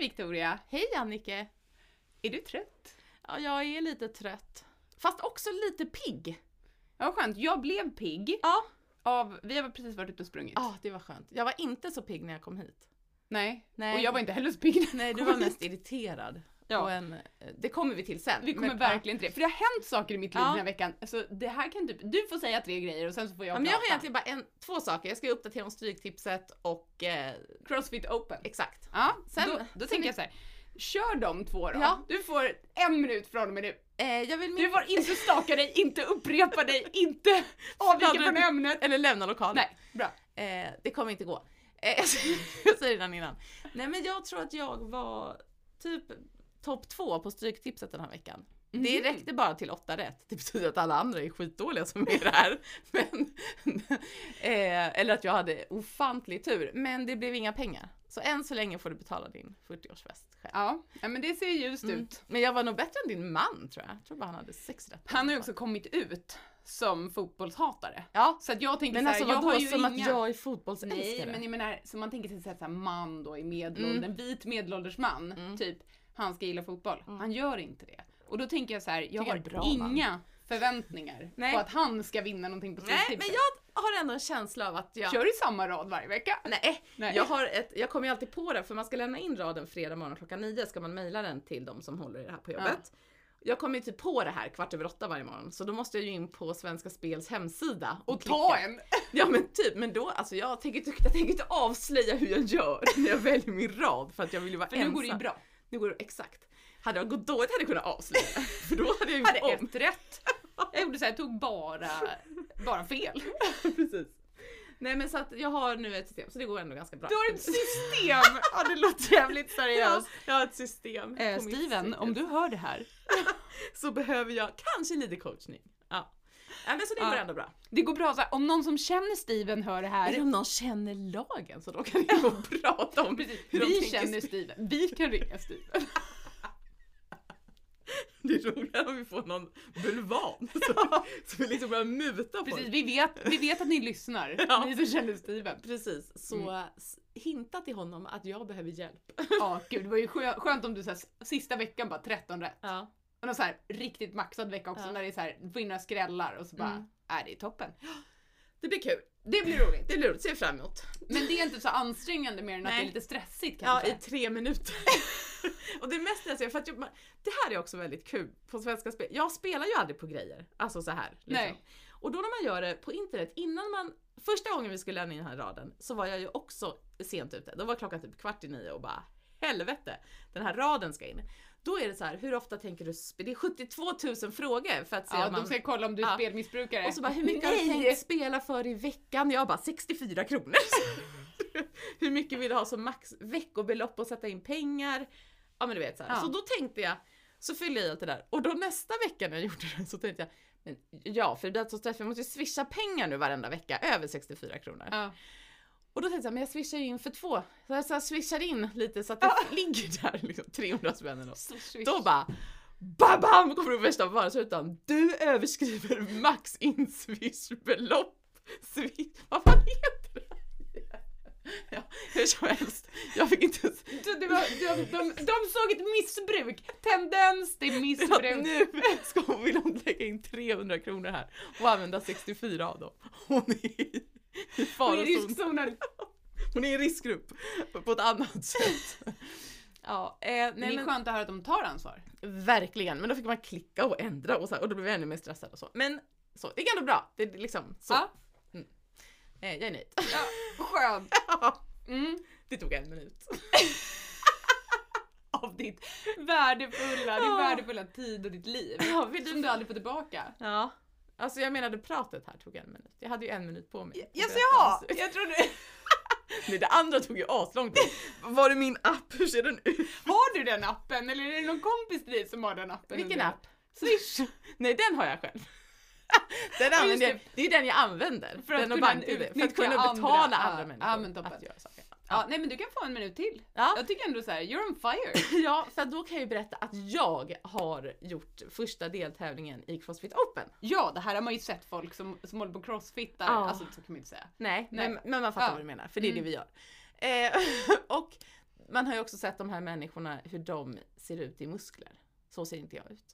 Victoria! Hej Annike! Är du trött? Ja, jag är lite trött. Fast också lite pigg. Ja, vad skönt. Jag blev pigg Ja. av... Vi har precis varit ute och sprungit. Ja, det var skönt. Jag var inte så pigg när jag kom hit. Nej. Nej. Och jag var inte heller så pigg. Nej, du var mest irriterad. Ja. På en, det kommer vi till sen. Vi kommer Men- verkligen till det. För det har hänt saker i mitt liv Ja. den här veckan. Alltså, det här kan typ... Du får säga tre grejer och sen så får jag Ja, men jag har prata. egentligen bara en, två saker. Jag ska uppdatera om Stryktipset och eh, Crossfit Open. exakt. Ja, Sen- sen, då, då sen tänker är- jag så här. Kör de två då. Ja. Du får en minut från och med nu. Eh, jag vill Du får inte staka dig, inte upprepa dig, inte avvika Fladdra från ut. ämnet. Eller lämna lokalen. Nej, bra. Eh, det kommer inte gå. Eh, jag säger redan innan. Nej men jag tror att jag var typ topp två på Stryktipset den här veckan. Det Mhm. räckte bara till åtta rätt. Det betyder att alla andra är skitdåliga som är där. Men, eh, eller att jag hade ofantlig tur. Men det blev inga pengar. Så än så länge får du betala din 40-årsfest själv. Ja, ja, men det ser ljust Mm. ut. Men jag var nog bättre än din man tror jag. Jag tror bara han hade sex rätt. Han har ju också kommit ut som fotbollshatare. Ja. Så att jag tänker Men såhär, alltså jag vadå, har ju som inga... att jag är Nej, fotbollsälskare? men jag menar, så man tänker sig såhär, såhär man då i medelåldern, Mm. en vit medelålders man, Mm. typ, han ska gilla fotboll. Mm. Han gör inte det. Och då tänker jag så här: jag Tycker har jag är bra man. inga förväntningar Nej. på att han ska vinna någonting på Nej, men Stryktipset. jag har ändå en känsla av att jag... Kör i samma rad varje vecka. Nej, Nej. Jag, har ett, jag kommer ju alltid på det för man ska lämna in raden fredag morgon klockan nio ska man mejla den till de som håller i det här på jobbet. Jag kommer ju typ på det här kvart över åtta varje morgon så då måste jag ju in på Svenska Spels hemsida och, Och ta klicka. en! Ja men typ, men då alltså jag tänker, inte- jag tänker inte avslöja hur jag gör när jag väljer min rad för att jag vill ju vara För ensam. nu går det ju bra. Nu går det exakt. Hade jag gått dåligt hade jag kunnat avslöja för då hade jag Jag hade gjort om. ett rätt. Jag gjorde såhär, tog bara, bara fel. Precis. Nej men så att jag har nu ett system så det går ändå ganska bra. Du har ett system! Ja, det låter jävligt Ja, seriöst. jag har ett system. Eh, på mitt Steven, cykel. om du hör det här. så behöver jag kanske lite coachning. Ja. ja men så det Ja. går ändå bra. Det går bra så här, om någon som känner Steven hör det här. Eller om någon känner lagen så då kan vi gå och prata om Precis, hur de vi tänker känner spela. Steven. Vi kan ringa Steven. Det är roligare om vi får någon bulvan så, så vi liksom börjar muta folk. Precis, vi vet, vi vet att ni lyssnar. Ja. Ni som känner Steven. Precis, så s- hinta till honom att jag behöver hjälp. Ja, gud det var ju skö- skönt om du så här, sista veckan bara 13 rätt. Ja. Och någon så här riktigt maxad vecka också Ja. när det är så här, du får in några skrällar och så bara, Mm. är det är toppen. Det blir kul. Det blir roligt. Det blir roligt, ser fram emot. Men det är inte så ansträngande mer än att Nej. det är lite stressigt Ja, kanske. i liksom. tre minuter. och det mest jag ser, för att jag, det här är också väldigt kul på Svenska Spel. Jag spelar ju aldrig på grejer, alltså så här. Liksom. Nej. Och då när man gör det på internet, innan man, första gången vi skulle lämna in den här raden så var jag ju också sent ute. Då var klockan typ kvart i nio och bara helvete, den här raden ska in. Då är det så här, hur ofta tänker du, spe- det är 72 000 frågor för att se Ja, om man... de ska kolla om du är Ja. spelmissbrukare. Och så bara, hur mycket har du Nej. tänkt spela för i veckan? Jag bara, 64 kronor. hur mycket vill du ha som max veckobelopp och sätta in pengar? Ja men du vet så här. Ja. Så då tänkte jag, så fyllde jag i allt det där. Och då nästa vecka när jag gjorde det så tänkte jag, men ja för det är så träff, jag måste ju swisha pengar nu varenda vecka, över 64 kronor. Ja. Och då tänkte jag, men jag swishar ju in för två. Så jag så här swishar in lite så att det ligger där liksom 300 spänn eller något. Så swish. Då bara bam, bam kommer upp värsta varningsrutan. Du överskriver max inswishbelopp. Swish, vad fan heter det? Ja, hur som helst, jag fick inte ens... Så det var, de, de, de såg ett missbruk, tendens till Att missbruk. nu ska hon, vill hon lägga in 300 kronor här och använda 64 av dem. Hon är i, i Och i farozon. riskzonen. Hon är i riskgrupp på ett annat sätt. Ja, eh, nej, Men det är skönt att höra att de tar ansvar. Verkligen, men då fick man klicka och ändra och, så här, och då blev jag ännu mer stressad och så. Men så, det gick ändå bra. Det, är liksom, så. Ja. Mm. Eh, jag är nöjd. Skönt. Mm. det tog en minut. Av ditt värdefulla, din Ja. värdefulla tid och ditt liv. Ja, vill Som Ah. du aldrig får tillbaka. Ja. Alltså jag menade pratet här tog en minut. Jag hade ju en minut på mig. Jag tror Nej, det andra tog ju aslång tid. Var är min app? Hur ser den ut? Har du den appen eller är det någon kompis till dig som har den appen? Vilken undrar jag? app? Swish! Nej, den har jag själv. Den använder det. jag, det är den jag använder. För att den och kunna bank-id. För att utnyttja kunna andra. betala andra, Ja, människor ja, men toppen. att göra saker. Ja, nej men du kan få en minut till. Ja. Jag tycker ändå så här, you're on fire. Ja, för då kan jag ju berätta att jag har gjort första deltävlingen i Crossfit Open. Ja, det här har man ju sett folk som, som håller på crossfittar, Ja. alltså så kan man ju inte säga. Nej, Nej. Men, men man fattar Ja. vad du menar, för det är Mm. det vi gör. Eh, och man har ju också sett de här människorna, hur de ser ut i muskler. Så ser inte jag ut.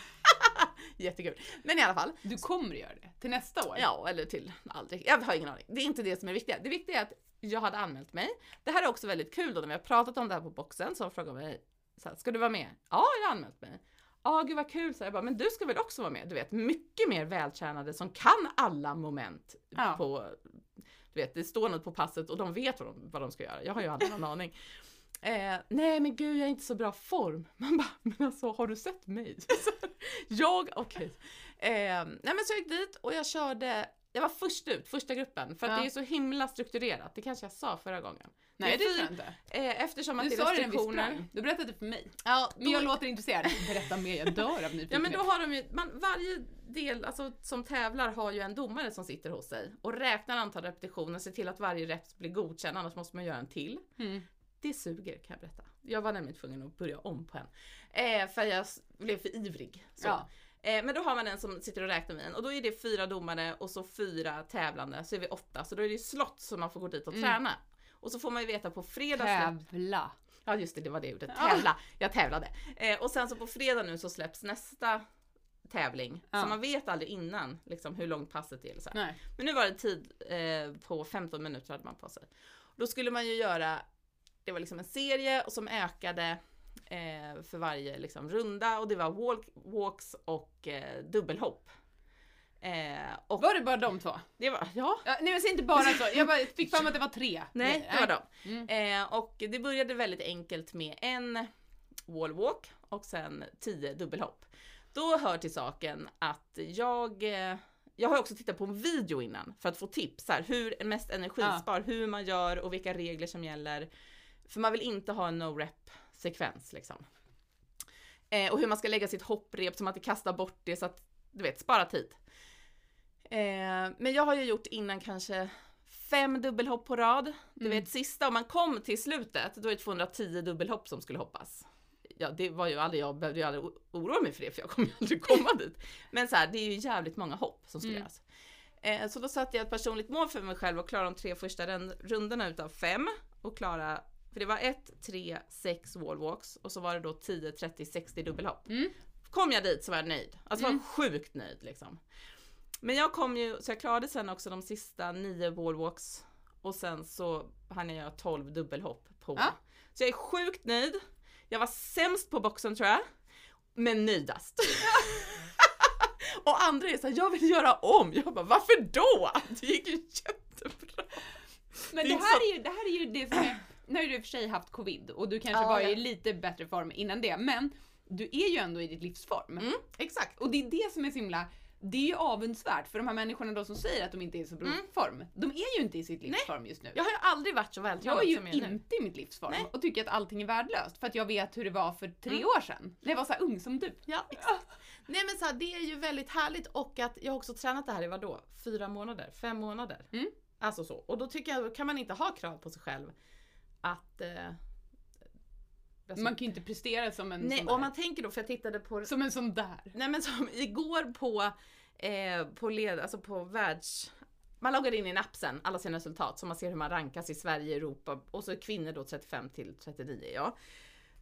Jättekul. Men i alla fall. Du kommer att göra det till nästa år. Ja, eller till aldrig. Jag har ingen aning. Det är inte det som är viktigt. Det viktiga är att jag hade anmält mig. Det här är också väldigt kul då när vi har pratat om det här på boxen så har de frågat mig så här, ska du vara med? Ja, jag har anmält mig. Ja, gud vad kul, så jag bara, men du ska väl också vara med? Du vet, mycket mer vältränade som kan alla moment Ja. på, du vet, det står något på passet och de vet vad de, vad de ska göra. Jag har ju aldrig någon aning. Eh, nej men gud jag är inte så bra form. Man bara, men alltså har du sett mig? jag, okej. Eh, nej men så jag gick dit och jag körde, jag var först ut, första gruppen. För att Ja. det är så himla strukturerat, det kanske jag sa förra gången. Nej det det är tror jag fy- inte. Eh, eftersom att Du det sa är det när vi restriktioner. sprang. Du berättade det för mig. Ja, Men jag då- låter intresserad. Berätta mer, jag dör av nyfikenhet. Ja men då har de ju, man, varje del alltså, som tävlar har ju en domare som sitter hos sig och räknar antal repetitioner, ser till att varje rep blir godkänd, annars måste man göra en till. Mm. Det suger kan jag berätta. Jag var nämligen tvungen att börja om på en. Eh, för jag s- blev för ivrig. Så. Ja. Eh, men då har man en som sitter och räknar med en och då är det fyra domare och så fyra tävlande, så är vi åtta. Så då är det ju slott som man får gå dit och Mm. träna. Och så får man ju veta på fredag släpps- Tävla. Ja just det, det var det jag gjorde. Ja. Tävla. Jag tävlade. Eh, och sen så på fredag nu så släpps nästa tävling. Ja. Så man vet aldrig innan liksom, hur långt passet är. Eller så här. Nej. Men nu var det tid eh, på 15 minuter hade man på sig. Då skulle man ju göra, det var liksom en serie och som ökade eh, för varje liksom, runda och det var walk, walks och eh, dubbelhopp. Eh, och Var det bara de två? det var, ja, Ja, nej men säg inte bara så, jag bara fick fram att det var tre. Nej, det var dem. Mm. Eh, och det började väldigt enkelt med en wallwalk och sen tio dubbelhopp. Då hör till saken att jag, eh, jag har också tittat på en video innan för att få tips, så här, hur mest energispar, hur man gör och vilka regler som gäller. För man vill inte ha en no-rep sekvens liksom. Eh, och hur man ska lägga sitt hopprep så man inte kastar bort det så att, du vet, spara tid. Eh, men jag har ju gjort innan kanske fem dubbelhopp på rad. Du Mm. vet sista, om man kom till slutet, då är det 210 dubbelhopp som skulle hoppas. Ja, det var ju aldrig, jag behövde ju aldrig o- oroa mig för det, för jag kommer ju aldrig komma dit. Men så här, det är ju jävligt många hopp som skulle Mm. göras. Eh, så då satte jag ett personligt mål för mig själv att klara de tre första ren- rundorna utav fem och klara, för det var 1, 3, 6 wallwalks och så var det då 10, 30, 60 dubbelhopp. Mm. Kom jag dit så var jag nöjd. Alltså var sjukt nöjd liksom. Men jag kom ju, så jag klarade sen också de sista nio wallwalks och sen så hann jag göra 12 dubbelhopp på. Ja. Så jag är sjukt nöjd. Jag var sämst på boxen tror jag, men nöjdast. Och andra är såhär, jag vill göra om. Jag bara, varför då? Det gick ju jättebra. Men det Det är här, är ju, det här är ju det som är, nu har ju du i och för sig haft covid och du kanske Ja, var ja. i lite bättre form innan det, men du är ju ändå i ditt livsform. Mm, exakt. Och det är det som är så himla, det är ju avundsvärt för de här människorna då som säger att de inte är i så bra Mm. form, de är ju inte i sitt livsform just nu. Jag har ju aldrig varit så Jag vältränad är ju som jag är nu. inte i mitt livsform Nej. och tycker att allting är värdelöst för att jag vet hur det var för tre Mm. år sedan när jag var så här ung som du. Ja, exakt. Nej men så här, det är ju väldigt härligt och att jag har också tränat det här i vadå? Fyra månader? Fem månader? Mm. Alltså så. Och då tycker jag, då kan man inte ha krav på sig själv att... Eh, alltså- Man kan ju inte prestera som en nej, sån om där. man tänker då, för jag tittade på... Som en sån där. Nej men som igår på, eh, på, led, alltså på världs... Man loggar in i en app sen, alla sina resultat, så man ser hur man rankas i Sverige, Europa och så är kvinnor då 35 till 39 ja.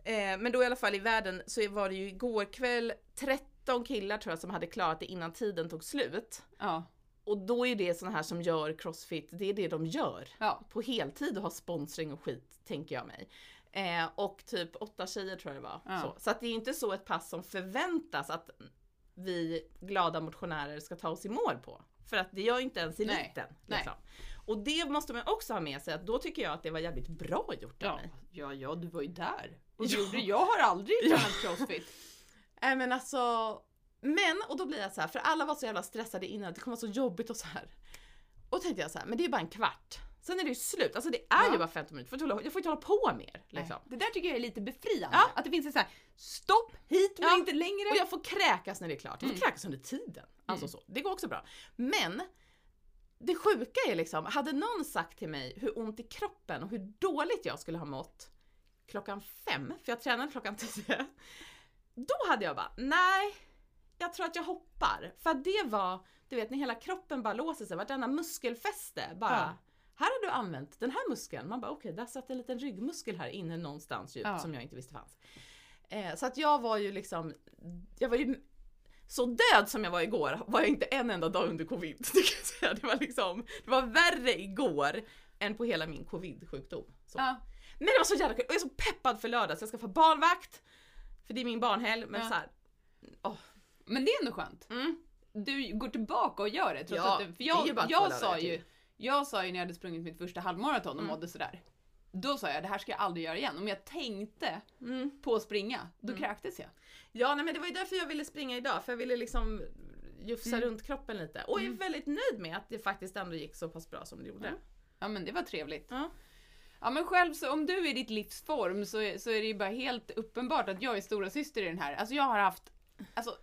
Eh, men då i alla fall i världen så var det ju igår kväll 13 killar tror jag som hade klarat det innan tiden tog slut. Ja. Och då är det sådana här som gör crossfit, det är det de gör ja. på heltid och har sponsring och skit, tänker jag mig. Eh, och typ åtta tjejer tror jag det var. Ja. Så, så att det är inte så ett pass som förväntas att vi glada motionärer ska ta oss i mål på. För att det gör inte ens Nej. eliten. Liksom. Och det måste man också ha med sig, att då tycker jag att det var jävligt bra gjort av Ja. mig. ja, ja, du var ju där. Och Och ja. gjorde- jag har aldrig Ja. tränat crossfit. Nej men alltså, men och då blir jag så här, för alla var så jävla stressade innan, det kommer vara så jobbigt och så här. Och tänkte jag så här, men det är bara en kvart. Sen är det ju slut, alltså det är Ja. ju bara 15 minuter, Får inte hålla- jag får inte hålla på mer. Liksom. Det där tycker jag är lite befriande. Ja. Att det finns ett så här stopp hit men Ja. inte längre. Och jag får kräkas när det är klart. Jag får Mm. kräkas under tiden. Alltså så. Det går också bra. Men det sjuka är liksom, hade någon sagt till mig hur ont i kroppen och hur dåligt jag skulle ha mått klockan fem, för jag tränade klockan tio, då hade jag bara, nej, jag tror att jag hoppar. För att det var, du vet när hela kroppen bara låser sig, vartenda muskelfäste bara, Här har du använt den här muskeln. Man bara okej, där satt en liten ryggmuskel här inne någonstans djupt Ja. som jag inte visste fanns. Eh, så att jag var ju liksom, jag var ju så död som jag var igår var jag inte en enda dag under covid. Det, kan jag säga. det var liksom, det var värre igår än på hela min covid-sjukdom. Så. Ja. Men det var så jävla kul, jag är så peppad för lördag så jag ska få barnvakt. För det är min barnhelg, men Ja. så här, åh, Men det är ändå skönt. mm. Du går tillbaka och gör det. Trots Ja, att du, för det är ju bara jag, två jag, dagar sa till. ju, jag sa ju när jag hade sprungit mitt första halvmaraton och Mm. mådde sådär. Då sa jag det här ska jag aldrig göra igen. Om jag tänkte Mm. på att springa, då Mm. kräktes jag. Ja, nej, men det var ju därför jag ville springa idag, för jag ville liksom jufsa Mm. runt kroppen lite. Och jag är Mm. väldigt nöjd med att det faktiskt ändå gick så pass bra som det gjorde. Mm. Ja men det var trevligt. Ja. Ja men själv så om du är i ditt livs form så, är- så är det ju bara helt uppenbart att jag är stora syster i den här. Alltså jag har haft, alltså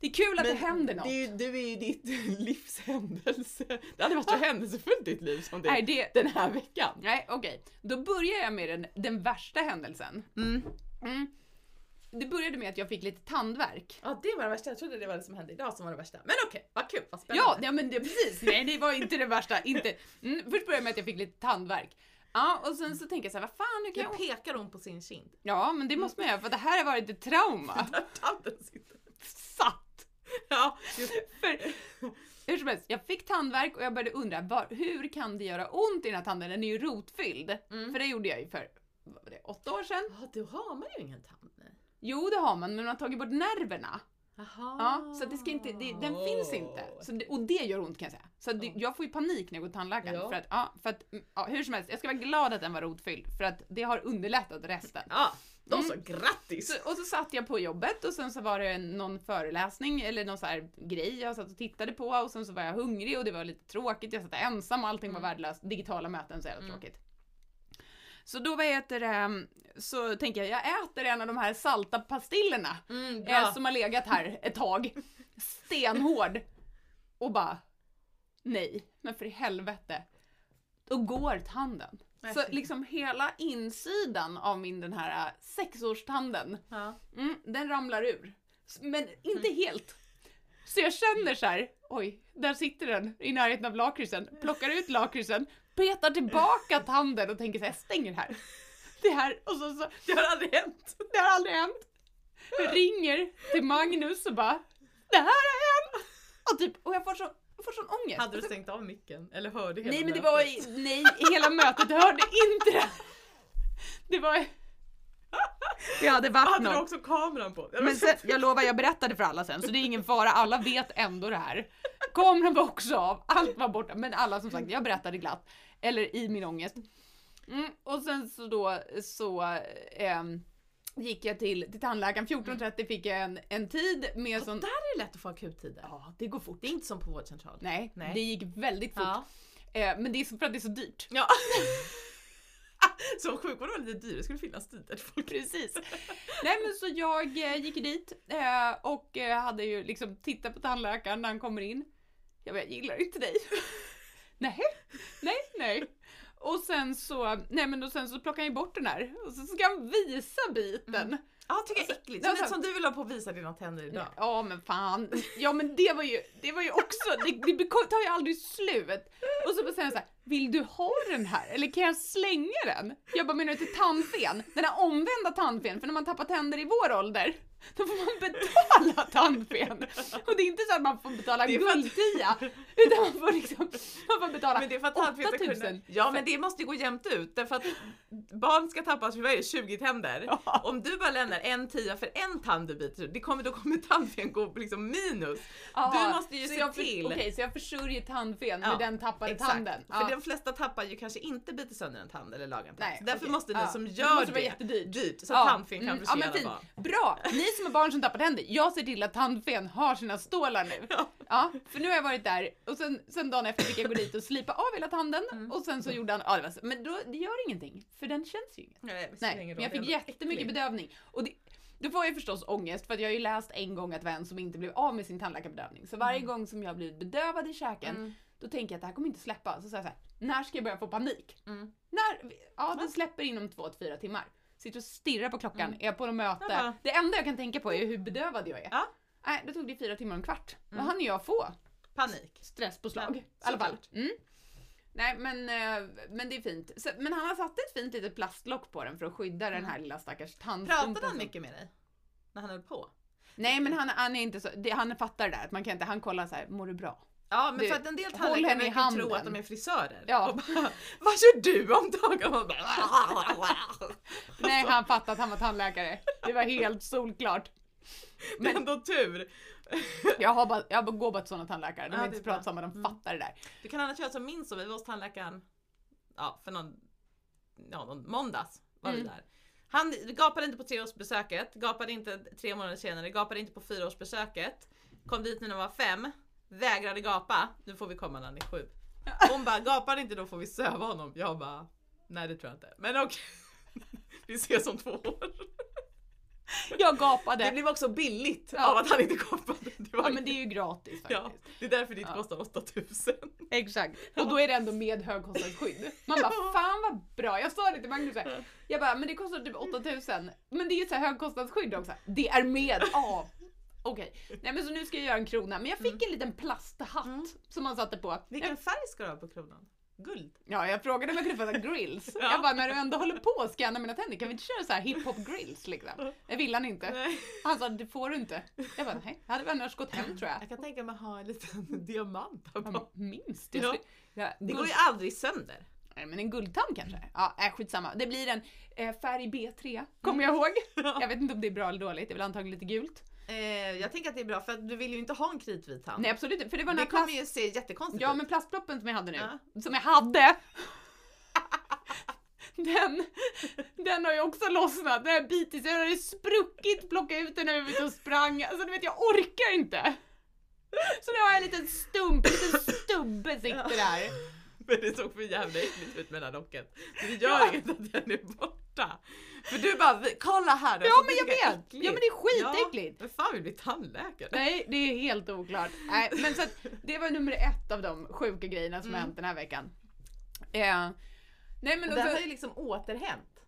det är kul att det händer något. Det är, ju- du är ju ditt livs händelse. Det hade varit så händelsefullt ditt liv som det Nej är det, den här veckan. nej okej. Då börjar jag med den, den värsta händelsen. Mm. Det började med att jag fick lite tandvärk. Ja, det var det värsta. Jag trodde det var det som hände idag som var det värsta. Men okej, vad kul, vad Ja, spännande. ja men det, precis. Nej, det var inte det värsta. Inte. Mm, först började jag med att jag fick lite tandvärk. Ja, och sen så tänker jag så här, vad fan, nu kan Nu jag... pekar hon på sin kind. Ja, men det måste man göra för det här har varit ett trauma. Där tanten sitter. Satt! Ja, just det. För, hur som helst, jag fick tandvärk och jag började undra, var, hur kan det göra ont i den här tanden? Den är ju rotfylld. Mm. För det gjorde jag ju för, vad var det, åtta år sedan? Ja, då har man ju ingen tand. nej. Jo, det har man, men man har tagit bort nerverna. Jaha. Ja, så att det ska inte, det, den finns inte. Så det, och det gör ont kan jag säga. Så att det, Ah. Ja. jag får ju panik när jag går till tandläkaren. Ja. För att, ja, för att, mm, ja, hur som helst, jag ska vara glad att den var rotfylld för att det har underlättat resten. Ja, då så, grattis! Mm. Så, och så satt jag på jobbet och sen så var det en- någon föreläsning eller någon så här grej jag satt och tittade på och sen så var jag hungrig och det var lite tråkigt. Jag satt ensam och allting var Mm. värdelöst. Digitala möten så jävla Mm. tråkigt. Så då vad heter det, så tänker jag, jag äter en av de här salta pastillerna Mm, bra. eh, som har legat här ett tag, stenhård och bara nej, men för i helvete. Då går tanden. Nej, Så fy. liksom hela insidan av min den här eh, sexårstanden, ja. mm, den ramlar ur. S- Men inte helt. Så jag känner så här, oj, där sitter den i närheten av lakritsen, plockar ut lakritsen, petar tillbaka tanden och tänker så här, jag stänger här. Det här, och så, så Det har aldrig hänt. det har aldrig hänt. Jag ringer till Magnus och bara Det här har hänt! Och, typ, och jag får, så, jag får sån ångest. Hade du stängt av micken? Eller hörde hela nej men det mötet? var, i- nej hela mötet hörde inte det. Det var... Det hade varit Hade du också kameran på? Men sen, jag lovar, jag berättade för alla sen så det är ingen fara, alla vet ändå det här. Kameran var också av, allt var borta, men alla som sagt, jag berättade glatt. Eller i min ångest. Mm, och sen så då så ehm, gick jag till, till tandläkaren, 14.30 fick jag en, en tid med Sån... sån... Där är det lätt att få akuttider. Ja, det går fort. Det är inte som på vårdcentral. Nej, Nej. det gick väldigt fort. Ja. Eh, men det är så, för att det är så dyrt. ja. så om sjukvården var lite dyr, det skulle finnas tider till folk. Precis. Nej men så jag eh, gick dit eh, och eh, hade ju liksom tittat på tandläkaren när han kommer in. Jag bara, jag gillar inte dig. nej, nej, nej. Och sen så, nej men då sen så plockar han ju bort den här och så ska han visa biten. Mm. Ja, tycker jag är äckligt. Som, alltså- som du vill ha på att visa dina tänder idag. Ja men fan. Ja men det var ju, det var ju också, det, det beko- tar ju aldrig slut. Och så säger han såhär, vill du ha den här eller kan jag slänga den? Jag bara, menar du till tandfen? Den här omvända tandfen, för när man tappar tänder i vår ålder, då får man betala tandfen. Och det är inte så att man får betala Det är för att- guldtia, utan man får liksom, man får betala Men det är för att tandfeta 8000. kunde... Ja men det måste ju gå jämnt ut därför att barn ska tappas för vad är det, 20 tänder. Ja. Om du bara lämnar en tia för en tand du biter det kommer, då kommer tandfen gå liksom minus. Aha, du måste ju så se jag för- till. Okej, så jag försörjer tandfen Ja, med den tappade tanden. För de flesta tappar ju kanske inte biter sönder en tand eller lagar en tand. Nej, så därför okej. måste ni Ja. som Det gör måste det, vara jättedyrt. dyrt så Ja, tandfen kan mm, försvinna ja, men fint. bara. Bra! Ni som har barn som tappar tänder, jag ser till att tandfen har sina stålar nu. Ja. Ja, för nu har jag varit där och sen, sen dagen efter fick jag gå dit och slipa av hela tanden Mm. och sen så gjorde han, ja det var så, men då, det gör ingenting för den känns ju inget. Nej, det spelar Nej, ingen men jag roll, fick det är ändå jättemycket äckligt. bedövning. Och det, då får jag förstås ångest för att jag har ju läst en gång att vän som inte blev av med sin tandläkarbedövning. Så varje Mm. gång som jag blivit bedövad i käken, Mm, då tänker jag att det här kommer inte släppa. Så säger jag så här, när ska jag börja få panik? mm. När, ja, den släpper inom två till fyra timmar. Sitter och stirrar på klockan, Mm. är jag på något möte. Ja. Det enda jag kan tänka på är hur bedövad jag är. Ja. Nej, då tog det fyra timmar och en kvart. Då Mm. hann jag få Panik. stresspåslag. Ja, I alla fall. såklart. Mm. Nej, men, eh, men det är fint. Så, men han har satt ett fint litet plastlock på den för att skydda den här lilla stackars tandstumpen. Pratade Mm. han som- mycket med dig? När han höll på? Nej, men han, han är inte så, det, han fattar det där att man kan inte, han kollar så här, mår du bra? Ja, men Du, för att en del håll tandläkare henne i verkar tro handen. att de är frisörer. Ja. Och bara, Vad gör du om dagen? Och bara, Nej, han fattade att han var tandläkare. Det var helt solklart. Det är ändå tur. Jag, har bara, jag går bara till sådana tandläkare, de är Ja, det inte är så bra. pratsamma, de Mm. fattar det där. Du kan annars göra som min som vi var hos tandläkaren, ja för någon, ja någon måndags var vi Mm. där. Han gapade inte på treårsbesöket, gapade inte tre månader senare, gapade inte på fyraårsbesöket. Kom dit när de var fem, vägrade gapa, nu får vi komma när han är sju. Hon bara, gapar inte då får vi söva honom. Jag bara, nej det tror jag inte. Men okej, vi ses om två år. Jag Det gapade. blev också billigt Ja. av att han inte gapade. Det var Ja, men det är ju gratis ja, faktiskt. det är därför ditt Ja. kostar 8000. Exakt. Och då är det ändå med högkostnadsskydd. Man bara, fan vad bra. Jag sa det till Magnus här. Jag bara, men det kostar typ 8000. Men det är ju så här högkostnadsskydd också. Det är med av. Okej, nej men så nu ska jag göra en krona. Men jag fick en liten plasthatt Mm. som man satte på. Vilken färg ska du ha på kronan? Guld? Ja, jag frågade om jag kunde få så här grills. Ja. Jag bara, när du ändå håller på att scanna mina tänder, kan vi inte köra så här hiphop grills liksom? Det vill han inte. Nej. Han sa, det får du inte. Jag bara, nej, jag hade väl annars gått hem tror jag. Jag kan tänka mig att ha en liten diamant här Mm. Han bara, på. minst. Jag Ja. skulle- Ja, Det guld- går ju aldrig sönder. Nej, men en guldtand kanske? Ja, äh, skitsamma. Det blir en eh, färg B3, kommer Mm. jag ihåg. Jag vet inte om det är bra eller dåligt, det är väl antagligen lite gult. Eh, jag tänker att det är bra för att du vill ju inte ha en kritvit tand. Nej absolut inte, för det var den det här kommer plast... ju se jättekonstigt Ja ut. men plastproppen som jag hade nu, som jag hade! Den, den har ju också lossnat, den har bitit, jag hade spruckit, plockat ut den över huvudet och sprang. Alltså du vet, jag orkar inte! Så nu har jag en liten stump, en liten stubbe sitter där. Alltså, Men det såg för jävla äckligt ut med den här rocken. Så det gör Ja. inget att den är borta. För du bara, "Vi- kolla här då. Ja Så men det jag är vet! äckligt. Ja men det är skitäckligt! Ja, men fan vill bli tandläkare? Nej, det är helt oklart. Nej, men så att, det var nummer ett av de sjuka grejerna som Mm. har hänt den här veckan. Eh, nej men Och den också, har ju liksom återhänt.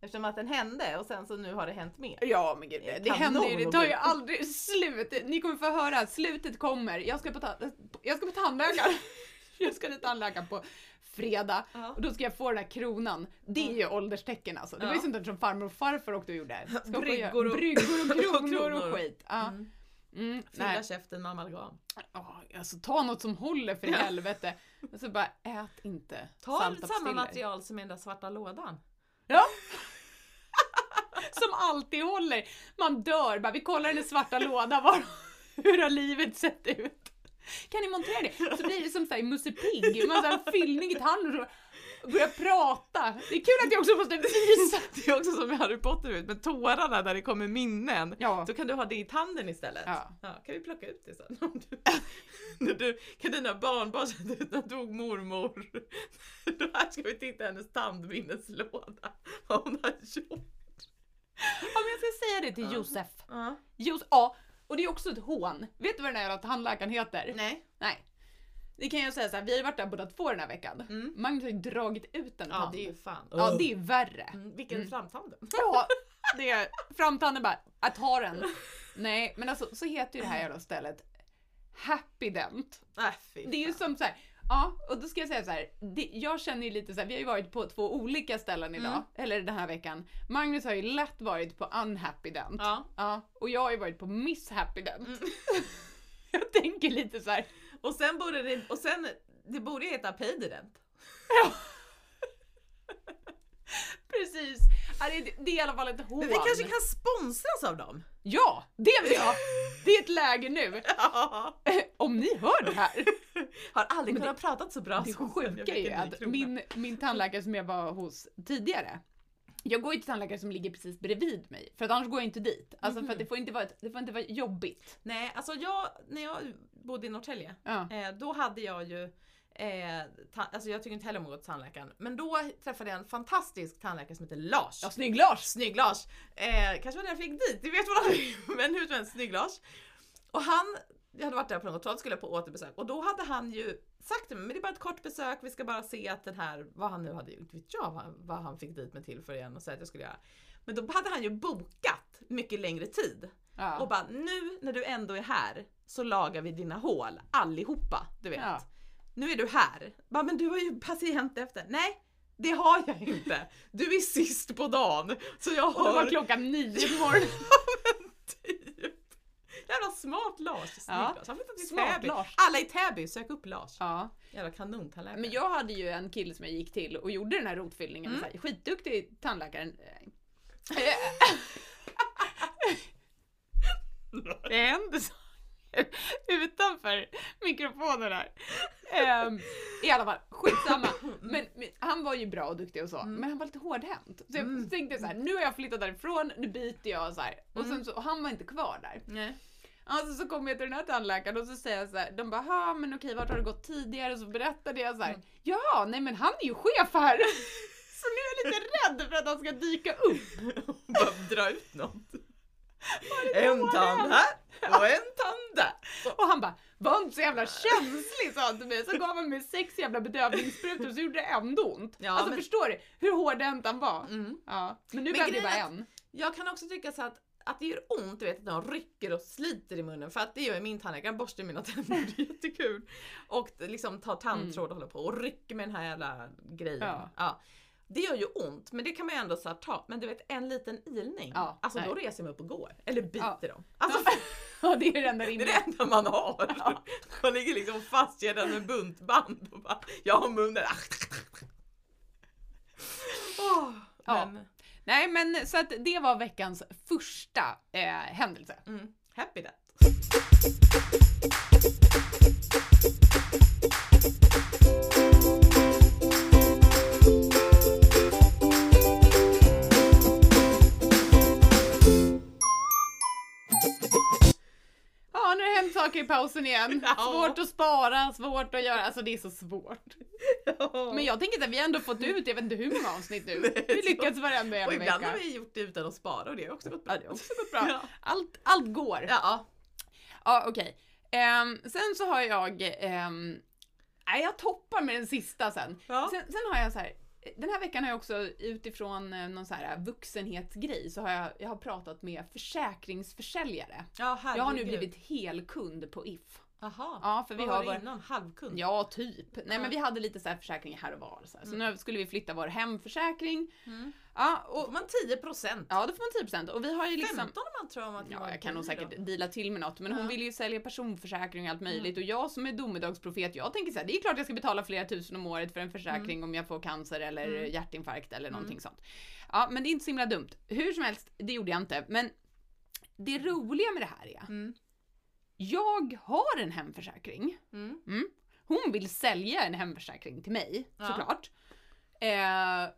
Eftersom att den hände och sen så nu har det hänt mer. Ja men gud, det Kanon händer ju, det tar ju och- aldrig slut. Ni kommer få höra, slutet kommer. Jag ska på, ta- jag ska på tandläkaren. Jag ska till tandläkaren på fredag. Ja. Och då ska jag få den här kronan. Det är ju ålderstecken alltså. Det var ju Ja. sånt där som farmor och farfar åkte och gjorde. Ska få göra- Bryggor och- bryggor och och kronor och, kronor. skit. Ja. Mm. Mm, nej. Fylla käften med amalgam. Ja, alltså ta något som håller för i helvete. Och så bara ät inte Ta salta samma pastiller. material som i den där svarta lådan. Ja. Som alltid håller. Man dör bara, vi kollar den svarta lådan, var, hur har livet sett ut? Kan ni montera det? Så blir det som såhär i Musse Pigg, man har fyllning i tanden och så börjar prata. Det är kul att jag också måste visa. Det är också som i Harry Potter ut med tårarna där det kommer minnen. Ja. Då kan du ha det i tanden istället. Ja. kan vi plocka ut det sen? Om du, när du, kan dina barnbarn säga att när dog mormor. Då här ska vi titta i hennes tandminneslåda. Vad hon har gjort. Ja, men jag ska säga det till Josef. Ja. Jos- ja, och det är också ett hån. Vet du vad den här jävla tandläkaren heter? Nej. Nej. Det kan jag säga så här, vi har ju varit där båda två den här veckan. Mm. Magnus har ju dragit ut en Ja tand. det är ju fan. ja, det är värre. Mm, Vilken framtanden. Ja, det är framtanden bara, att ha den. Nej, men alltså så heter ju det här jävla stället Happy Dent. Nej Äh, fy Det är ju fan. som så här, ja, och då ska jag säga så här, det, jag känner ju lite så här, vi har ju varit på två olika ställen idag, Mm. eller den här veckan. Magnus har ju lätt varit på Unhappy Dent. Ja. Ja, Mm. och jag har ju varit på Miss Happy Dent. Jag tänker lite så här. Och sen borde det, och sen, det borde ju heta Paydident. Precis. Ja, det, det är i alla fall ett hån. Men vi kanske kan sponsras av dem? Ja, det vill jag! Det är ett läge nu. Om ni hör det här. Har aldrig Men det- kunnat prata så bra Det som sen jag sjuka är fick ju en ny att krona. min, min tandläkare som jag var hos tidigare, jag går ju till tandläkare som ligger precis bredvid mig, för att annars går jag inte dit. Alltså för att det får inte vara, ett, det får inte vara jobbigt. Nej, alltså jag, när jag bodde i Norrtälje, Ja. eh, då hade jag ju eh, ta, alltså jag tycker inte heller om att gå till tandläkaren, men då träffade jag en fantastisk tandläkare som heter Lars. Ja, snygg Lars! Snygg Lars! Eh, kanske var det jag fick dit, det vet man aldrig. Men hur som helst, Snygg Lars. Och han, jag hade varit där på något tal, skulle på återbesök och då hade han ju sagt till mig, men det är bara ett kort besök, vi ska bara se att den här, vad han nu hade gjort, vet jag vad, vad han fick dit mig till för igen och säga att jag skulle göra. Men då hade han ju bokat mycket längre tid. Och Ja. bara, nu när du ändå är här så lagar vi dina hål allihopa, du vet. Ja. nu är du här. Bara, men du har ju patient efter. Nej, det har jag inte. Du är sist på dagen. Så jag Och det var har... klockan nio på morgonen. Typ. Jävla smart Lars. Snygg Ja. Lars. Han flyttade till Smart Täby. Lars. Alla i Täby, sök upp Lars. Ja. Jävla kanontalang. Men jag hade ju en kille som jag gick till och gjorde den här rotfyllningen. Mm. Så här, skitduktig tandläkaren. Eh, Det hände saker utanför mikrofonen här. Ehm, I alla fall, skitsamma. Mm. Men, men han var ju bra och duktig och så, men han var lite hårdhänt. Så jag Mm. tänkte så här, nu har jag flyttat därifrån, nu byter jag så här. Och, Mm. sen så, och han var inte kvar där. Nej. Alltså så kommer jag till den här tandläkaren och så säger jag så här, de bara "Ha, men okej vart har du gått tidigare? Och så berättade jag så här, Mm. ja nej men han är ju chef här. så nu är jag lite rädd för att han ska dyka upp. Bara dra ut något. En tand här och en tand där. Och han bara, var inte så jävla känslig sa han till mig. Så gav han mig sex jävla bedövningssprutor och så gjorde det ändå ont. Ja, alltså men- förstår du hur hårdhänt han var? Mm. Ja, men nu Men behöver det bara grejen en. Jag kan också tycka så att, att det gör ont, du vet att de rycker och sliter i munnen för att det gör ju min tandläkare, han borstar mina tänder, det är jättekul. Och liksom tar tandtråd och håller på och rycker med den här jävla grejen. Mm. Ja. Ja. Det gör ju ont, men det kan man ju ändå så här ta. Men du vet en liten ilning, Ja, alltså då nej. reser man upp och går. Eller biter Ja. dem. Alltså Ja, det är det enda det är rimliga. det enda man har. Man ligger liksom fastkedjad med buntband och bara, jag har munnen. Åh, Ja. Men, Nej men så att det var veckans första eh, händelse. mm, happy that. Ja, nu har det hänt saker i pausen igen. Ja. Svårt att spara, svårt att göra, alltså det är så svårt. Men jag tänker att vi har ändå fått ut, jag vet inte hur många avsnitt nu. Nej, Vi lyckas varenda Och jävla ibland vecka. har vi gjort det utan att spara och det har också gått bra. Ja, det har också gått bra. Ja. Allt, allt går. Ja, Ja, okej. Ehm, sen så har jag, ehm, nej jag toppar med den sista sen. Ja. Sen, sen har jag så här, den här veckan har jag också utifrån eh, någon så här vuxenhetsgrej så har jag, jag har pratat med försäkringsförsäljare. ja herregud. Jag har nu blivit helkund på If. Aha. Ja, för vi Vad har var vår- det innan? Halvkund? Ja, Mm. typ. Nej men Ja. vi hade lite så här försäkringar här och var. Så, här. så nu skulle vi flytta vår hemförsäkring. Mm. Ja, Då och, får man 10 procent. ja då får man 10% och vi har ju liksom... 15 om man tror om att det var Ja, jag kan en nog bil säkert då. deala till med något. Men hon Ja. Mm. vill ju sälja personförsäkring och allt möjligt. Och jag som är domedagsprofet, jag tänker så här, det är klart jag ska betala flera tusen om året för en försäkring om jag får cancer eller Mm. hjärtinfarkt eller någonting sånt. Ja, men det är inte så himla dumt. Hur som helst, det gjorde jag inte. Men det roliga med det här är, Mm. jag har en hemförsäkring. Mm. Hon vill sälja en hemförsäkring till mig, Ja. såklart. Eh,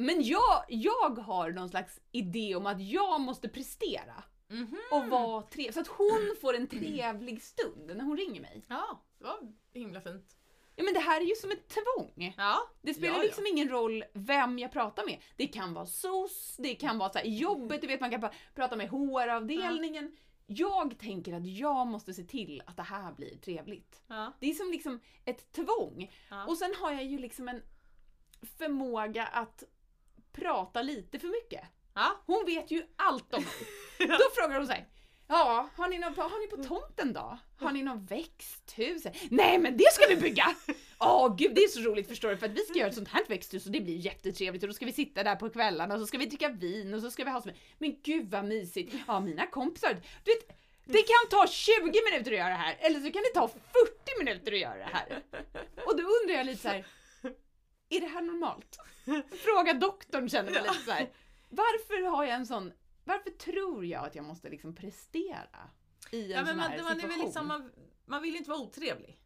men jag, jag har någon slags idé om att jag måste prestera Mhm. och vara trevlig. Så att hon får en trevlig stund när hon ringer mig. Ja, det var himla fint. Ja men det här är ju som ett tvång. Ja, Det spelar Ja, ja. liksom ingen roll vem jag pratar med. Det kan vara SOS, det kan vara så här, i jobbet, du vet man kan pra- prata med HR-avdelningen. Jag tänker att jag måste se till att det här blir trevligt. ja, Det är som liksom ett tvång. ja. Och sen har jag ju liksom en förmåga att prata lite för mycket. ja. Hon vet ju allt om mig. Då frågar hon sig. Ja, har ni, någon, vad har ni på tomten då? Har ni någon växthus? Nej men det ska vi bygga! Åh gud, det är så roligt förstår du för att vi ska göra ett sånt här växthus och det blir jättetrevligt och då ska vi sitta där på kvällarna och så ska vi dricka vin och så ska vi ha som... Men gud vad mysigt! Ja, mina kompisar. Du vet, det kan ta 20 minuter att göra det här eller så kan det ta 40 minuter att göra det här. Och då undrar jag lite så här. Är det här normalt? Fråga doktorn känner jag lite så här. Varför har jag en sån, varför tror jag att jag måste liksom prestera i en ja men sån man, här man, är väl situation? liksom, man, man vill ju inte vara otrevlig.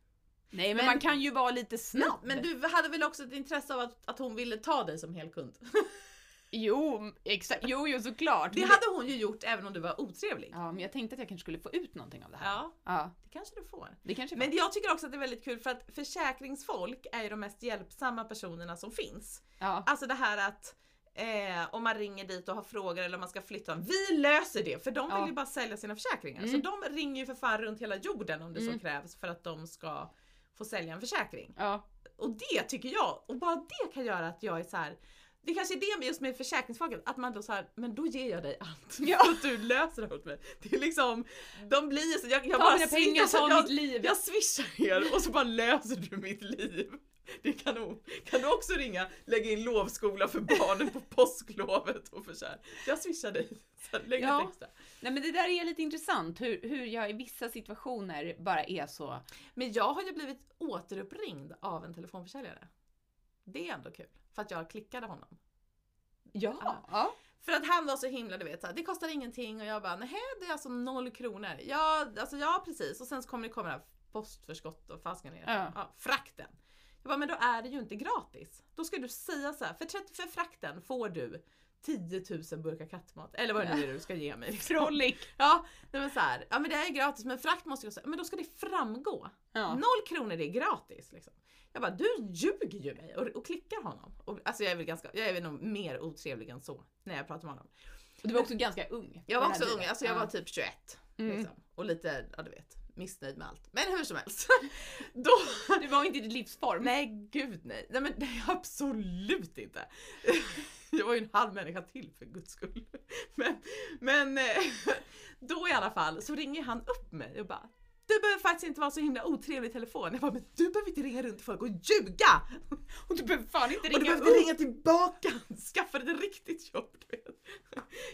Nej men, men- man kan ju vara lite snabb. Men du hade väl också ett intresse av att, att hon ville ta dig som helkund? Jo, exakt. Jo, jo såklart. Det Men hade hon ju gjort även om du var otrevlig. Ja, men jag tänkte att jag kanske skulle få ut någonting av det här. Ja, Ja, det kanske du får. det kanske Men jag tycker också att det är väldigt kul för att försäkringsfolk är ju de mest hjälpsamma personerna som finns. ja. Alltså det här att eh, om man ringer dit och har frågor eller om man ska flytta, vi löser det! För de vill Ja. ju bara sälja sina försäkringar. Mm. Så de ringer ju för fan runt hela jorden om det Mm. så krävs för att de ska få sälja en försäkring. Ja, Och det tycker jag, och bara det kan göra att jag är så här. Det kanske är det med just med försäkringsfolket, att man då så här, men då ger jag dig allt. Ja. Så att du löser det åt mig. Det är liksom, de blir så, jag, jag Ta bara mina pengar, swishar- ta jag, mitt liv. jag swishar er och så bara löser du mitt liv. Det är kanon. Kan du också ringa, lägga in lovskola för barnen på påsklovet och för så här. Jag swishar dig. Så här, lägg Ja. ett extra. Nej men det där är lite intressant, hur, hur jag i vissa situationer bara är så. Men jag har ju blivit återuppringd av en telefonförsäljare. Det är ändå kul. För att jag klickade honom. Ja. Ja. ja. För att han var så himla, du vet, så här, det kostar ingenting och jag bara nej det är alltså noll kronor. Ja, alltså ja precis och sen så kommer det komma det här postförskott och fasken ner. Ja. Ja, frakten. Jag bara, men då är det ju inte gratis. Då ska du säga så här, för, 30, för frakten får du 10 000 burkar kattmat eller vad det nu är du ska ge mig. liksom. Frolic. Ja, nej men så här, ja men det är ju gratis men frakt måste jag säga, men då ska det framgå. Ja. Noll kronor det är gratis. Liksom. Jag bara, du ljuger ju mig och, och klickar honom. Och, alltså jag är väl ganska, jag är väl nog mer otrevlig än så när jag pratar med honom. Och du var också ganska ung. Jag var också På den här ung, tiden. alltså jag Ja. var typ 21. Mm. Liksom. Och lite, ja du vet, missnöjd med allt. Men hur som helst. Då... Du var inte i ditt livsform. liksom- Nej gud nej. Nej men nej, absolut inte. Jag var ju en halv människa till för guds skull. Men, men eh, då i alla fall så ringer han upp mig och bara du behöver faktiskt inte vara så himla otrevlig i telefon. Jag bara, men du behöver inte ringa runt till folk och ljuga! Och du behöver fan inte Och du ringa behöver inte upp. ringa tillbaka! Skaffa dig ett riktigt jobb. Du vet.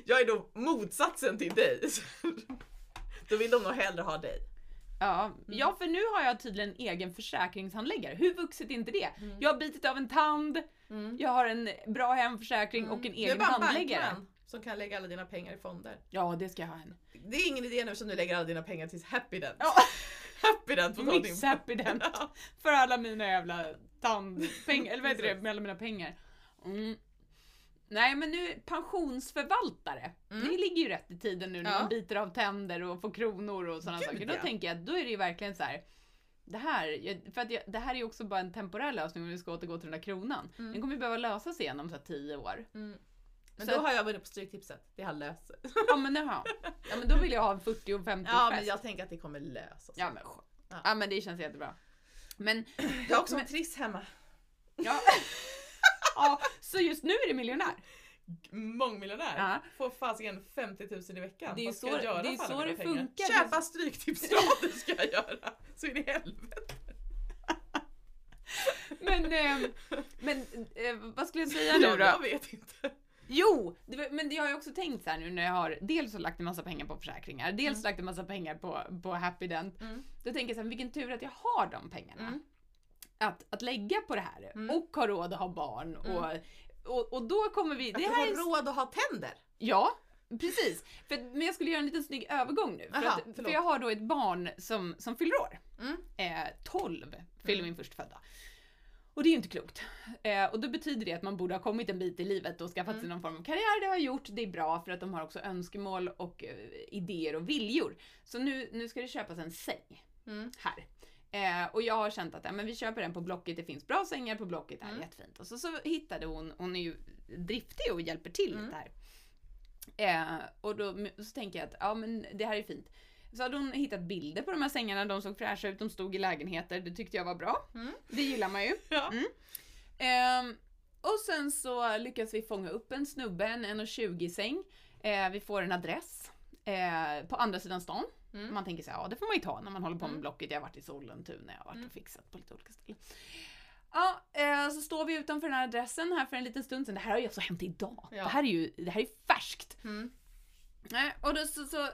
Jag är då motsatsen till dig. Då vill de nog hellre ha dig. Ja. Mm. ja, för nu har jag tydligen egen försäkringshandläggare. Hur vuxet är inte det? Mm. Jag har bitit av en tand, jag har en bra hemförsäkring och en Mm. Du är egen bara en handläggare. bankman som kan lägga alla dina pengar i fonder. Ja, det ska jag ha en. Det är ingen idé nu som du lägger alla dina pengar till Happydent. Ja. Happydent får ta din... Miss happy den. Ja. För alla mina jävla tandpengar, eller vad heter det, med alla mina pengar. Mm. Nej men nu, pensionsförvaltare. Det ligger ju rätt i tiden nu när Mm. Ja. man biter av tänder och får kronor och sådana Gud, saker. Då ja. tänker jag att då är det ju verkligen så här. Det här, jag- för att jag, det här är ju också bara en temporär lösning om vi ska återgå till den där kronan. Mm. Den kommer ju behöva lösas igen om så här, tio år. Men Så då att- har jag vunnit på Stryktipset. Det har löst sig. Ja men, jaha. ja, men då vill jag ha en 40 och 50 Ja fest. men jag tänker att det kommer lösa sig. ja, men, skö- ja men det känns jättebra. Men Jag har också en triss hemma. Ja. ja, så just nu är du miljonär. Mångmiljonär. Ja. Får fasiken 50 000 i veckan. Det är Vad ska så- jag göra det är för alla så mina det pengar? funkar. Det Köpa stryktipsrader ska jag göra. Så in i helvete. Men, eh, men eh, vad skulle jag säga nu Jag då? vet inte. Jo, det, var- men det har jag också tänkt så här nu när jag har dels har lagt en massa pengar på försäkringar, dels lagt en massa pengar på, på Happy Dent. Mm. Då tänker jag så här, vilken tur att jag har de pengarna. Mm. Att, att lägga på det här Mm. och ha råd att ha barn och, och, och då kommer vi... Att Det du här är har råd att ha tänder. Ja, precis. För, att- men jag skulle göra en liten snygg övergång nu. För, Aha, att, för förlåt. jag har då ett barn som, som fyller år. Mm. Eh, 12 fyller min förstfödda. Och det är ju inte klokt. Eh, och då betyder det att man borde ha kommit en bit i livet och Mm. skaffat sig någon form av karriär. Det har jag gjort, det är bra för att de har också önskemål och eh, idéer och viljor. Så nu, nu ska det köpas en säng Mm. här. Eh, och jag har känt att ja, men vi köper den på Blocket, det finns bra sängar på Blocket, det här är jättefint. Och så, så hittade hon, hon är ju driftig och hjälper till lite här. Eh, och då så tänker jag att ja, men det här är fint. Så hade hon hittat bilder på de här sängarna, de såg fräscha ut, de stod i lägenheter, det tyckte jag var bra. Mm. Det gillar man ju. Ja. Mm. Ehm, och sen så lyckas vi fånga upp en snubbe, en 1,20 säng. Eh, vi får en adress eh, på andra sidan stan. Mm. Man tänker så här, ja det får man ju ta när man håller på med Mm. Blocket. Jag har varit i Sollentuna, jag har varit Mm. och fixat på lite olika ställen. Ja, eh, så står vi utanför den här adressen här för en liten stund sedan. Det här har ju alltså hänt idag. Ja. Det här är ju det här är färskt. Mm. Nej, och då så, så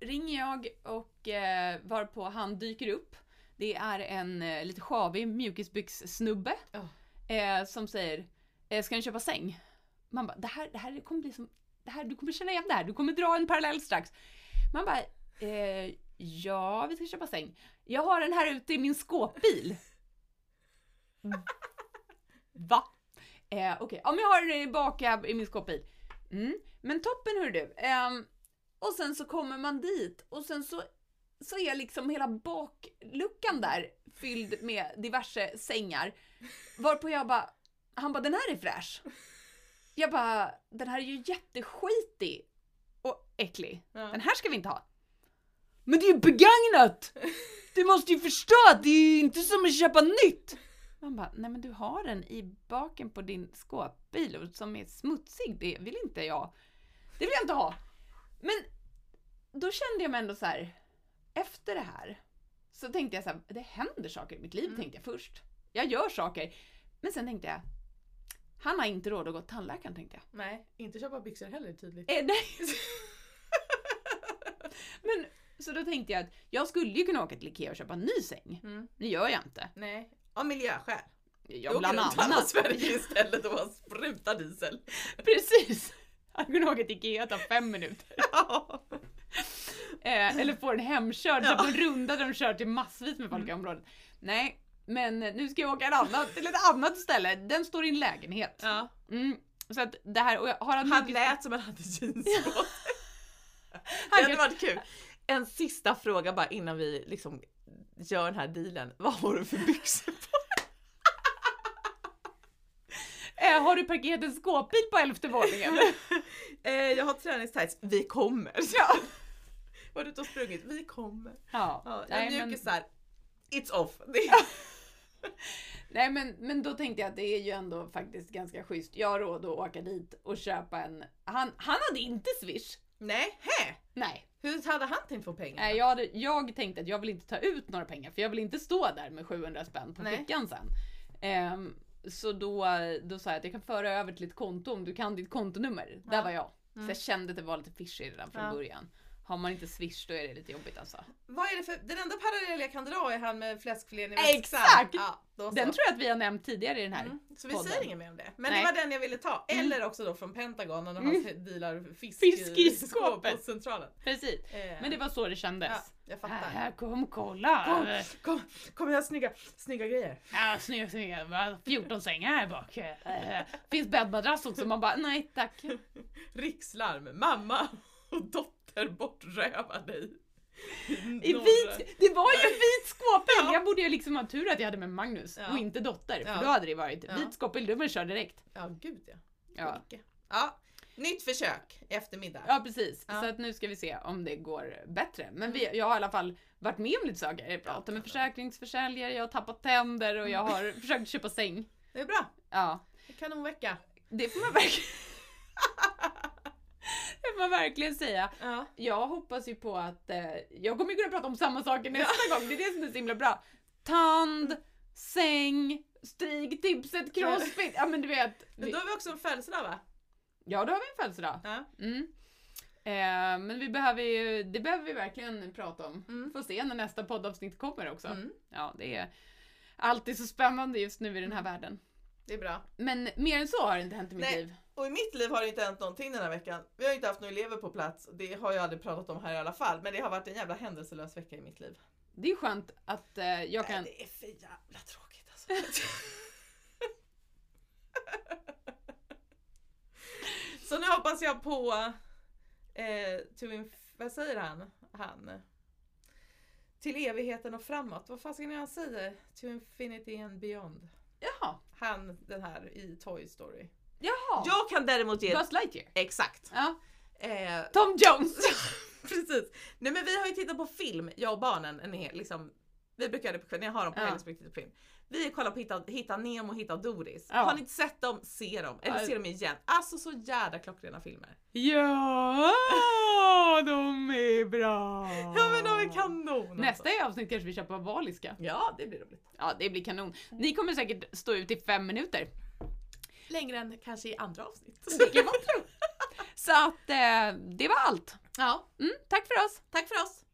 ringer jag och eh, varpå han dyker upp. Det är en eh, lite sjavig mjukisbyxsnubbe Ja. eh, som säger eh, “Ska ni köpa säng?” Man bara “Det här, det här kommer bli som... Det här, du kommer känna igen det här, du kommer dra en parallell strax.” Man bara eh, “Ja, vi ska köpa säng. Jag har den här ute i min skåpbil.” Va? Eh, Okej, ja men jag har den i bak här i min skåpbil. Mm. Men toppen hör du. Ehm, och sen så kommer man dit och sen så, så är liksom hela bakluckan där fylld med diverse sängar. Varpå jag bara, han bara den här är fräsch. Jag bara, den här är ju jätteskitig och äcklig. Ja. Den här ska vi inte ha. Men det är ju begagnat! Du måste ju förstå att det är ju inte som att köpa nytt! Man bara, nej men du har den i baken på din skåpbil och som är smutsig, det vill inte jag. Det vill jag inte ha! Men då kände jag mig ändå så här. efter det här så tänkte jag så här, det händer saker i mitt liv Mm. tänkte jag först. Jag gör saker. Men sen tänkte jag, han har inte råd att gå till tandläkaren tänkte jag. Nej, inte köpa byxor heller tydligt. Eh, nej. Men så då tänkte jag att jag skulle ju kunna åka till Ikea och köpa en ny säng. Mm. Det gör jag inte. Nej. Av miljöskäl. Jag Då åker bland de till alla annat. Sverige istället och bara sprutar diesel. Precis! Jag kunde åka till Ikea och ta fem minuter. Ja. Eh, eller få en hemkörd, Ja. Mm. så på en runda där de kör till massvis med folk i området. Nej, men eh, nu ska jag åka en annan, till ett annat ställe. Den står i en lägenhet. Ja. Mm. Så att det här, och jag har han, Han lät som han hade jeans på. Det han hade varit kul. En sista fråga bara innan vi liksom gör den här dealen. Vad har du för byxor på? eh, Har du parkerat en skåpbil på elfte våningen? eh, jag har träningstights. Vi kommer. Ja. Var du ute och sprungit? Vi kommer. Ja, Ja, nej, jag men- mjukisar. It's off. Det- Nej men, men då tänkte jag att det är ju ändå faktiskt ganska schysst. Jag har råd att åka dit och köpa en... Han, han hade inte swish. Nej, hä? Nej. Hur hade han tänkt få pengar? Nej jag, hade, jag tänkte att jag vill inte ta ut några pengar för jag vill inte stå där med 700 spänn på Nej. fickan sen. Ehm, så då, då sa jag att jag kan föra över till ett konto om du kan ditt kontonummer. Där Ja. var jag. Mm. Så jag kände att det var lite fishy redan från Ja. början. Har man inte swish då är det lite jobbigt alltså. Vad är det för, den enda parallell jag kan dra är han med fläskfilén i Exakt! väskan. Ja, då så. Den tror jag att vi har nämnt tidigare i den här. Mm. Så vi podden. säger inget mer om det. Men Nej. det var den jag ville ta. Eller också då från Pentagon när Mm. han dealar fisk, Fisk i skåp skåpet. på centralen. Precis. Eh, Men det var Äh, så det kändes. ja, jag fattar. Här, kom kolla! Kom, kom, kom jag har snygga, snygga grejer. Ja, snygga, snygga. Vi har 14 sängar här bak. Eh, Finns bäddmadrass också. Man bara, nej tack. Rikslarm, mamma och dotter bortrövade i I norra- vit, det var ju en vit skåpbil! Ja. Jag borde ju liksom ha tur att jag hade med Magnus Ja. och inte dotter, för Ja. då hade det varit Ja. vit skåpbil, då man kör direkt. Ja, gud ja. Ja, Ulke. ja. Nytt försök i eftermiddag. ja precis. Ja. Mm. Så att nu ska vi se om det går bättre. Men vi, jag har i alla fall varit med om lite saker. Jag pratar med försäkringsförsäljare, jag har tappat tänder och jag Mm. har försökt köpa säng. Det är bra. Ja. Kanonvecka. Det får man verkligen... det får man verkligen säga. Ja. Jag hoppas ju på att... Eh, jag kommer ju kunna prata om samma saker nästa gång, det är det som är så himla bra. Tand, Mm. säng, stryktipset, crossfit. Ja men du vet. Men Vi, då har vi också en födelsedag va? ja då har vi en födelsedag. Ja. Mm. Eh, men vi behöver ju, det behöver vi verkligen prata om. Mm. Får se när nästa poddavsnitt kommer också. Mm. Ja, det är alltid så spännande just nu i den här världen. Det är bra. Men mer än så har det inte hänt i mitt Mm. Nej. liv. Och i mitt liv har det inte hänt någonting den här veckan. Vi har ju inte haft några elever på plats. Det har jag aldrig pratat om här i alla fall. Men det har varit en jävla händelselös vecka i mitt liv. Det är skönt att eh, jag kan... Nej, det är för jävla tråkigt alltså. Så nu hoppas jag på eh, to inf- vad säger han? han? Till evigheten och framåt. Vad fan ska ni han säger? To infinity and beyond. Jaha. Han den här i Toy Story. Jaha. Jag kan däremot ge... Buzz Lightyear. Exakt. Ja. Eh, Tom Jones. Precis. Nej men vi har ju tittat på film, jag och barnen. En hel, liksom, vi brukar göra det på kvällen, jag har dem på Ja. helgen så vi tittar på film. Vi kollar på Hitta, Hitta Nemo och Hitta Doris. Ja. Har ni inte sett dem, se dem. Eller Ja. se dem igen. Alltså så jävla klockrena filmer. Ja, de är bra. Ja men de är kanon! Nästa Alltså. avsnitt kanske vi köper valiska. Mm. Ja det blir roligt. Ja, det blir kanon. Ni kommer säkert stå ut i fem minuter. Längre än kanske i andra avsnitt. Det kan man tro. Så att eh, det var allt. ja, Mm, tack för oss. tack för oss!